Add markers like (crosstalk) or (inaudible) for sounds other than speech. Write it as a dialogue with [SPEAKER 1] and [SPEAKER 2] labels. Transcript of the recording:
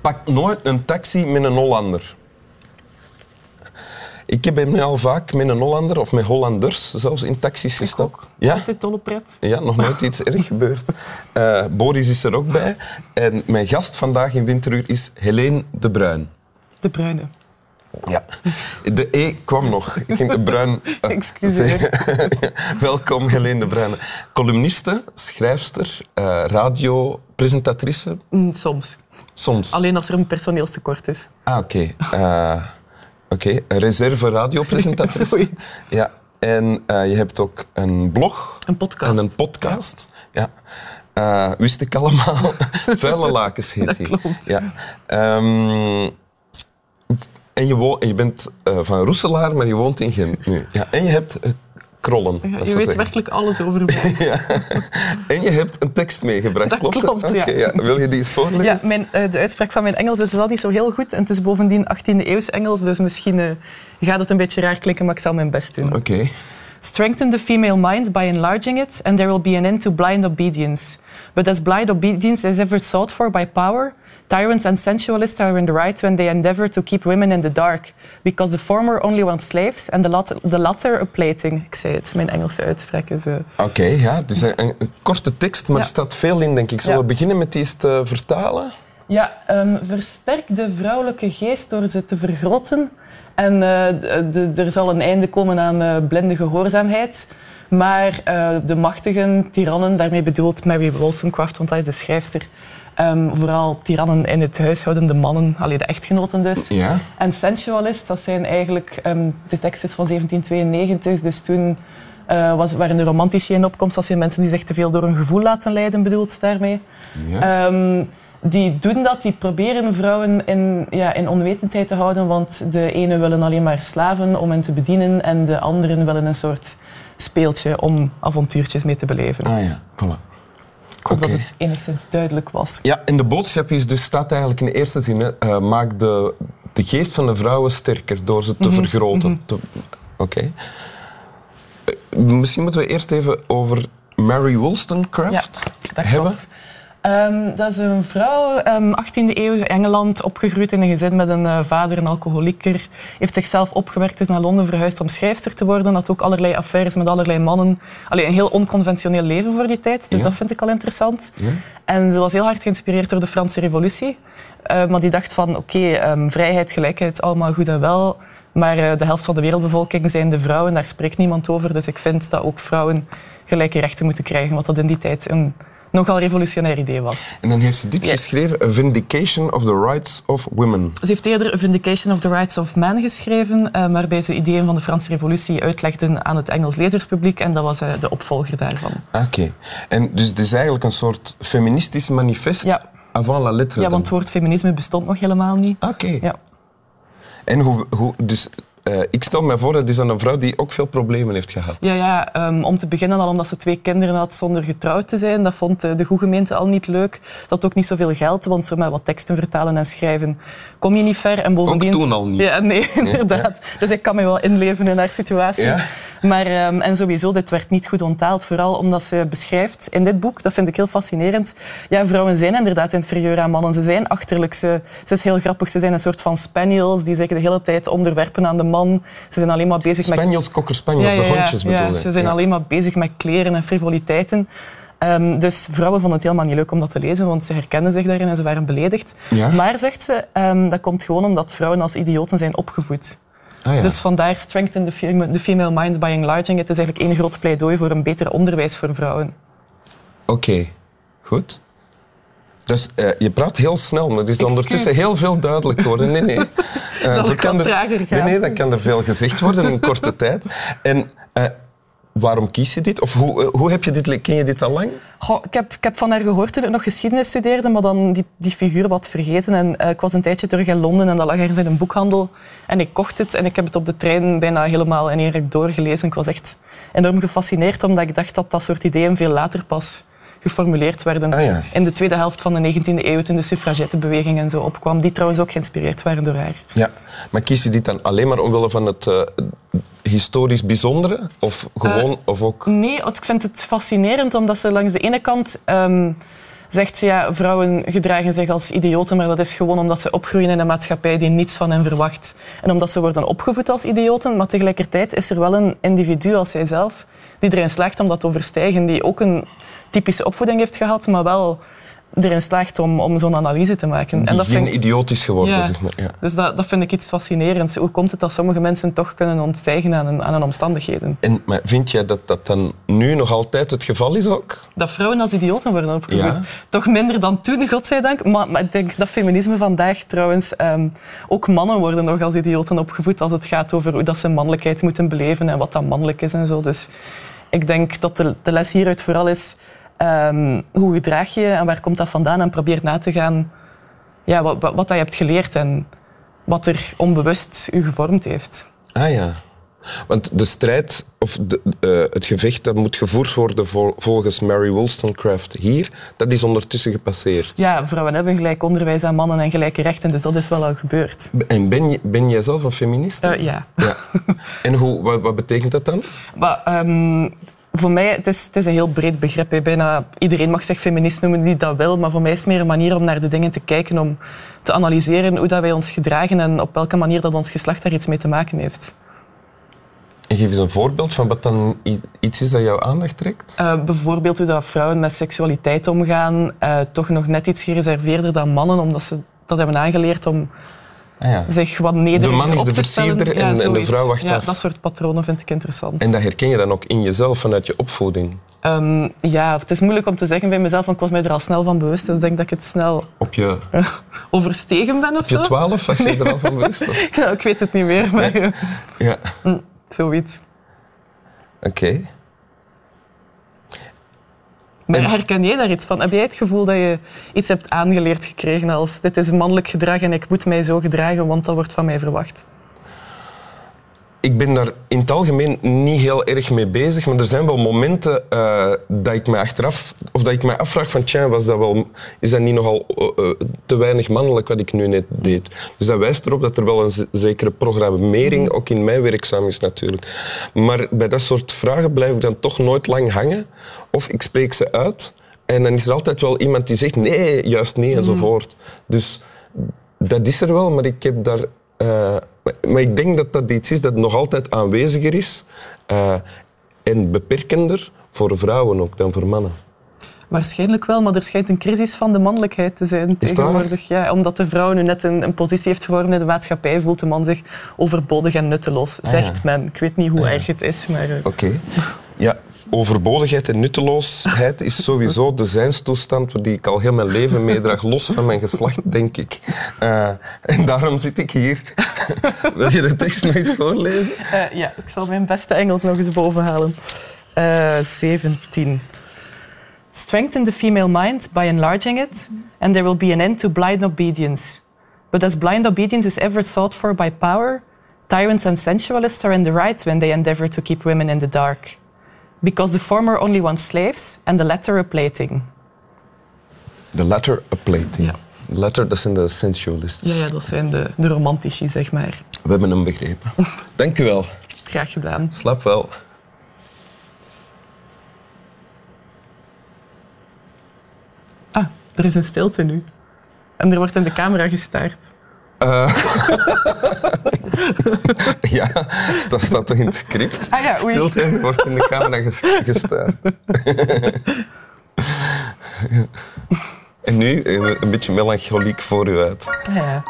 [SPEAKER 1] pak nooit een taxi met een Hollander. Ik heb hem al vaak met een Hollander of met Hollanders zelfs in taxis gestapt. Ja?
[SPEAKER 2] Altijd dolle pret.
[SPEAKER 1] ja, nog nooit iets erg gebeurd. Eh, Boris is er ook bij. En mijn gast vandaag in Winteruur is Helene de Bruin.
[SPEAKER 2] De bruine.
[SPEAKER 1] Ja. De E kwam nog. Ik ging de Bruin eh,
[SPEAKER 2] Excuseer.
[SPEAKER 1] zeggen. (laughs) Welkom Helene de Bruin. Columniste, schrijfster, eh radiopresentatrice.
[SPEAKER 2] Mm, soms.
[SPEAKER 1] Soms.
[SPEAKER 2] Alleen als er een personeelstekort is.
[SPEAKER 1] Ah, oké. Eh, oké, een reserve radiopresentatrice.
[SPEAKER 2] (laughs) Zoiets.
[SPEAKER 1] Ja, en eh, je hebt ook een blog.
[SPEAKER 2] Een podcast.
[SPEAKER 1] En een podcast. Ja. Eh, wist ik allemaal. (laughs) Vuile lakens heet
[SPEAKER 2] Dat
[SPEAKER 1] die.
[SPEAKER 2] klopt.
[SPEAKER 1] Ja. Ehm, en je, wo- en je bent eh, van Roeselaar, maar je woont in Gent nu. Ja, en je hebt eh, krollen. dat ze
[SPEAKER 2] Ja, je weet
[SPEAKER 1] zeggen.
[SPEAKER 2] werkelijk alles over mij.
[SPEAKER 1] En je hebt een tekst meegebracht,
[SPEAKER 2] Dat
[SPEAKER 1] klopt het?
[SPEAKER 2] klopt, ja.
[SPEAKER 1] Oké, Wil je die eens voorlezen?
[SPEAKER 2] (laughs) Ja, mijn, eh, de uitspraak van mijn Engels is wel niet zo heel goed. En het is bovendien 18e-eeuws Engels, dus misschien eh, gaat het een beetje raar klinken, maar ik zal mijn best doen.
[SPEAKER 1] Oké.
[SPEAKER 2] Strengthen the female mind by enlarging it, and there will be an end to blind obedience. But as blind obedience is ever sought for by power, tyrants and sensualists are in the right when they endeavor to keep women in the dark, because the former only want slaves and the, lat- the latter a plating. Ik zei het, mijn Engelse uitspraak is. eh,
[SPEAKER 1] Oké, ja. Het is een, een- een korte tekst, maar
[SPEAKER 2] Ja.
[SPEAKER 1] er staat veel in, denk ik. Zullen
[SPEAKER 2] Ja.
[SPEAKER 1] we beginnen met die eens te vertalen?
[SPEAKER 2] Ja, ehm, versterk de vrouwelijke geest door ze te vergroten. En eh, d- d- er zal een einde komen aan eh, blinde gehoorzaamheid. Maar eh, de machtigen, tirannen, daarmee bedoelt Mary Wollstonecraft, want dat is de schrijfster. ehm, vooral tirannen in het huishouden, de mannen, allee, de echtgenoten dus.
[SPEAKER 1] Ja.
[SPEAKER 2] En sensualist, dat zijn eigenlijk... ehm, de tekst is van 1792, dus toen eh, was, waren de romantici in opkomst. Dat zijn mensen die zich te veel door hun gevoel laten leiden, bedoelt daarmee.
[SPEAKER 1] Ja.
[SPEAKER 2] Ehm, die doen dat, die proberen vrouwen in, ja, in onwetendheid te houden, want de ene willen alleen maar slaven om hen te bedienen en de anderen willen een soort speeltje om avontuurtjes mee te beleven.
[SPEAKER 1] Ah ja, voilà.
[SPEAKER 2] Ik hoop
[SPEAKER 1] oké.
[SPEAKER 2] dat het enigszins duidelijk was.
[SPEAKER 1] Ja, en de boodschap is dus, staat eigenlijk in de eerste zin, hè, eh, maak de, de geest van de vrouwen sterker door ze te
[SPEAKER 2] Mhm,
[SPEAKER 1] vergroten. te- Oké. Eh, Misschien moeten we eerst even over Mary Wollstonecraft
[SPEAKER 2] dat
[SPEAKER 1] hebben.
[SPEAKER 2] klopt. Ehm, dat is een vrouw, ehm 18e eeuw Engeland, opgegroeid in een gezin met een eh, vader, een alcoholieker. Heeft zichzelf opgewerkt, is naar Londen verhuisd om schrijfster te worden. Had ook allerlei affaires met allerlei mannen. Allee, een heel onconventioneel leven voor die tijd, dus
[SPEAKER 1] Ja.
[SPEAKER 2] dat vind ik al interessant.
[SPEAKER 1] Ja.
[SPEAKER 2] En ze was heel hard geïnspireerd door de Franse revolutie. Eh, maar die dacht van, oké, ehm, vrijheid, gelijkheid, allemaal goed en wel. Maar eh, de helft van de wereldbevolking zijn de vrouwen, daar spreekt niemand over. Dus ik vind dat ook vrouwen gelijke rechten moeten krijgen, wat dat in die tijd een nogal revolutionair idee was.
[SPEAKER 1] En dan heeft ze dit
[SPEAKER 2] Ja.
[SPEAKER 1] geschreven, A Vindication of the Rights of Women.
[SPEAKER 2] Ze heeft eerder A Vindication of the Rights of Man geschreven, eh, waarbij ze ideeën van de Franse revolutie uitlegden aan het Engels lezerspubliek. En dat was eh, de opvolger daarvan.
[SPEAKER 1] Ah, Oké. En dus het is eigenlijk een soort feministisch manifest
[SPEAKER 2] Ja.
[SPEAKER 1] avant la lettre.
[SPEAKER 2] Ja,
[SPEAKER 1] dan. Ah,
[SPEAKER 2] want het woord feminisme bestond nog helemaal niet.
[SPEAKER 1] Oké.
[SPEAKER 2] Ja.
[SPEAKER 1] En hoe... hoe dus, eh, ik stel me voor, het is dan een vrouw die ook veel problemen heeft gehad.
[SPEAKER 2] Ja, ja ehm, om te beginnen al omdat ze twee kinderen had zonder getrouwd te zijn. Dat vond eh, de goede gemeente al niet leuk. Dat ook niet zoveel geld, want zo met wat teksten vertalen en schrijven kom je niet ver. En bovendien...
[SPEAKER 1] Ook toen al niet.
[SPEAKER 2] Ja, nee, inderdaad. Dus ik kan me wel inleven in haar situatie.
[SPEAKER 1] Ja.
[SPEAKER 2] Maar, ehm, en sowieso, dit werd niet goed onthaald. Vooral omdat ze beschrijft in dit boek, dat vind ik heel fascinerend. Ja, vrouwen zijn inderdaad inferieur aan mannen. Ze zijn achterlijk. Ze, ze is heel grappig. Ze zijn een soort van spaniels die zich de hele tijd onderwerpen aan de man. Ze zijn alleen maar bezig met
[SPEAKER 1] Spaniels, kokker Spaniels, de hondjes bedoel
[SPEAKER 2] ja,
[SPEAKER 1] je?
[SPEAKER 2] ze zijn alleen maar bezig met kleren en frivoliteiten. Ehm, dus vrouwen vonden het helemaal niet leuk om dat te lezen, want ze herkennen zich daarin en ze waren beledigd.
[SPEAKER 1] Ja.
[SPEAKER 2] Maar, zegt ze, ehm, dat komt gewoon omdat vrouwen als idioten zijn opgevoed.
[SPEAKER 1] Ah, ja.
[SPEAKER 2] Dus vandaar strengthen the fem- the female mind by enlarging. Het is eigenlijk één groot pleidooi voor een beter onderwijs voor vrouwen.
[SPEAKER 1] Oké, goed. Dus eh, je praat heel snel, maar er is
[SPEAKER 2] Excuus.
[SPEAKER 1] ondertussen heel veel duidelijk geworden.
[SPEAKER 2] (laughs)
[SPEAKER 1] Nee, nee. Eh,
[SPEAKER 2] Zal
[SPEAKER 1] zo
[SPEAKER 2] ik wat trager
[SPEAKER 1] Nee,
[SPEAKER 2] gaan?
[SPEAKER 1] nee, dan kan er veel gezegd worden in
[SPEAKER 2] (laughs)
[SPEAKER 1] korte tijd. En eh, waarom kies je dit? Of hoe, eh, hoe heb je dit... le- Ken je dit al lang?
[SPEAKER 2] Goh, ik, heb, ik heb van haar gehoord toen ik nog geschiedenis studeerde, maar dan die, die figuur wat vergeten. En eh, ik was een tijdje terug in Londen en dat lag ergens in een boekhandel. En ik kocht het en ik heb het op de trein bijna helemaal in één ruk doorgelezen. Ik was echt enorm gefascineerd, omdat ik dacht dat dat soort ideeën veel later pas geformuleerd werden.
[SPEAKER 1] Ah, ja.
[SPEAKER 2] In de tweede helft van de 19e eeuw, toen de suffragettenbeweging en zo opkwam. Die trouwens ook geïnspireerd waren door haar.
[SPEAKER 1] Ja. Maar kies je dit dan alleen maar omwille van het eh, historisch bijzondere?
[SPEAKER 2] Eh,
[SPEAKER 1] Of gewoon... of ook...
[SPEAKER 2] Nee, want ik vind het fascinerend omdat ze langs de ene kant ehm, zegt ze ja, vrouwen gedragen zich als idioten, maar dat is gewoon omdat ze opgroeien in een maatschappij die niets van hen verwacht. En omdat ze worden opgevoed als idioten, maar tegelijkertijd is er wel een individu als zijzelf die erin slaagt om dat te overstijgen, die ook een typische opvoeding heeft gehad, maar wel erin slaagt om, om zo'n analyse te maken.
[SPEAKER 1] Die
[SPEAKER 2] dat
[SPEAKER 1] geen
[SPEAKER 2] vind ik-
[SPEAKER 1] idioot is geworden,
[SPEAKER 2] Ja.
[SPEAKER 1] zeg maar. Ja.
[SPEAKER 2] dus dat, dat vind ik iets fascinerends. Hoe komt het dat sommige mensen toch kunnen ontstijgen aan hun, aan hun omstandigheden?
[SPEAKER 1] En, maar vind jij dat dat dan nu nog altijd het geval is ook?
[SPEAKER 2] dat vrouwen als idioten worden opgevoed.
[SPEAKER 1] Ja.
[SPEAKER 2] Toch minder dan toen, godzijdank. Maar, maar ik denk dat feminisme vandaag trouwens... ehm, ook mannen worden nog als idioten opgevoed als het gaat over hoe dat ze mannelijkheid moeten beleven en wat dan mannelijk is en zo. Dus ik denk dat de, de les hieruit vooral is... ehm, hoe gedraag je je en waar komt dat vandaan? En probeer na te gaan ja, wat, wat, wat dat je hebt geleerd en wat er onbewust u gevormd heeft.
[SPEAKER 1] Ah ja. Want de strijd, of de, eh, het gevecht dat moet gevoerd worden vol- volgens Mary Wollstonecraft hier, dat is ondertussen gepasseerd.
[SPEAKER 2] Ja, vrouwen hebben gelijk onderwijs aan mannen en gelijke rechten, dus dat is wel al gebeurd.
[SPEAKER 1] En ben, je- ben jij zelf een feministe?
[SPEAKER 2] Eh, ja.
[SPEAKER 1] Ja. En hoe, wat, wat betekent dat dan?
[SPEAKER 2] Maar, ehm, voor mij, het is het is een heel breed begrip. hè. Bijna iedereen mag zich feminist noemen die dat wil. Maar voor mij is het meer een manier om naar de dingen te kijken, om te analyseren hoe dat wij ons gedragen en op welke manier dat ons geslacht daar iets mee te maken heeft.
[SPEAKER 1] En geef eens een voorbeeld van wat dan i- iets is dat jouw aandacht trekt.
[SPEAKER 2] Eh, bijvoorbeeld hoe dat vrouwen met seksualiteit omgaan, eh, toch nog net iets gereserveerder dan mannen, omdat ze dat hebben aangeleerd om
[SPEAKER 1] Ah ja.
[SPEAKER 2] zich wat nederiger
[SPEAKER 1] De man is
[SPEAKER 2] op
[SPEAKER 1] de
[SPEAKER 2] te stellen.
[SPEAKER 1] versierder en- en de
[SPEAKER 2] zoiets.
[SPEAKER 1] vrouw wacht
[SPEAKER 2] ja,
[SPEAKER 1] af.
[SPEAKER 2] Dat soort patronen vind ik interessant.
[SPEAKER 1] En dat herken je dan ook in jezelf vanuit je opvoeding.
[SPEAKER 2] Ehm, ja, het is moeilijk om te zeggen bij mezelf, want ik was mij er al snel van bewust. Dus ik denk dat ik het snel
[SPEAKER 1] Op je,
[SPEAKER 2] overstegen ben of
[SPEAKER 1] op je
[SPEAKER 2] (laughs) zo.
[SPEAKER 1] twaalf was je er al van bewust. of-
[SPEAKER 2] (laughs) Nou, ik weet het niet meer, maar eh,
[SPEAKER 1] Ja,
[SPEAKER 2] (laughs) zoiets.
[SPEAKER 1] oké.
[SPEAKER 2] Maar
[SPEAKER 1] En-
[SPEAKER 2] herken jij daar iets van? Heb jij het gevoel dat je iets hebt aangeleerd gekregen als dit is mannelijk gedrag en ik moet mij zo gedragen, want dat wordt van mij verwacht?
[SPEAKER 1] Ik ben daar in het algemeen niet heel erg mee bezig, maar er zijn wel momenten eh, dat ik me achteraf, of dat ik me afvraag van, tja, was dat wel, is dat niet nogal eh, eh, te weinig mannelijk wat ik nu net deed? Dus dat wijst erop dat er wel een z- zekere programmering ook in mijn werkzaam is natuurlijk. Maar bij dat soort vragen blijf ik dan toch nooit lang hangen, of ik spreek ze uit en dan is er altijd wel iemand die zegt, nee, juist niet enzovoort. Dus dat is er wel, maar ik heb daar. eh, maar- maar ik denk dat dat iets is dat nog altijd aanweziger is eh, en beperkender voor vrouwen ook dan voor mannen.
[SPEAKER 2] Waarschijnlijk wel, maar er schijnt een crisis van de mannelijkheid te zijn
[SPEAKER 1] Is dat
[SPEAKER 2] tegenwoordig. Ja, omdat de vrouw nu net een, een positie heeft gevormd in de maatschappij, voelt de man zich overbodig en nutteloos,
[SPEAKER 1] Ah,
[SPEAKER 2] zegt men. Ik weet niet hoe erg het is, maar... eh,
[SPEAKER 1] Oké. Ja, overbodigheid en nutteloosheid is sowieso de zijnstoestand die ik al heel mijn leven meedraag, los van mijn geslacht, denk ik. Eh, en daarom zit ik hier. (laughs) Wil je de tekst nog eens voorlezen?
[SPEAKER 2] Eh, ja, ik zal mijn beste Engels nog eens bovenhalen. Eh 17. Strengthen the female mind by enlarging it, and there will be an end to blind obedience. But as blind obedience is ever sought for by power, tyrants and sensualists are in the right when they endeavor to keep women in the dark. Because the former only wants slaves, and the latter a plating.
[SPEAKER 1] The latter a plating.
[SPEAKER 2] Ja.
[SPEAKER 1] Latter, dat zijn de sensualists.
[SPEAKER 2] dat zijn de, de romantici, zeg maar.
[SPEAKER 1] We hebben hem begrepen. (laughs) Dank u wel.
[SPEAKER 2] Graag gedaan.
[SPEAKER 1] Slaap wel.
[SPEAKER 2] Ah, er is een stilte nu. En er wordt in de camera gestaard.
[SPEAKER 1] (laughs) Ja, dat staat toch in het script?
[SPEAKER 2] Ah ja, oei.
[SPEAKER 1] Stilte en wordt in de camera ges
[SPEAKER 2] (laughs)
[SPEAKER 1] gestaan. en nu eh, een beetje melancholiek voor u uit.
[SPEAKER 2] Ja.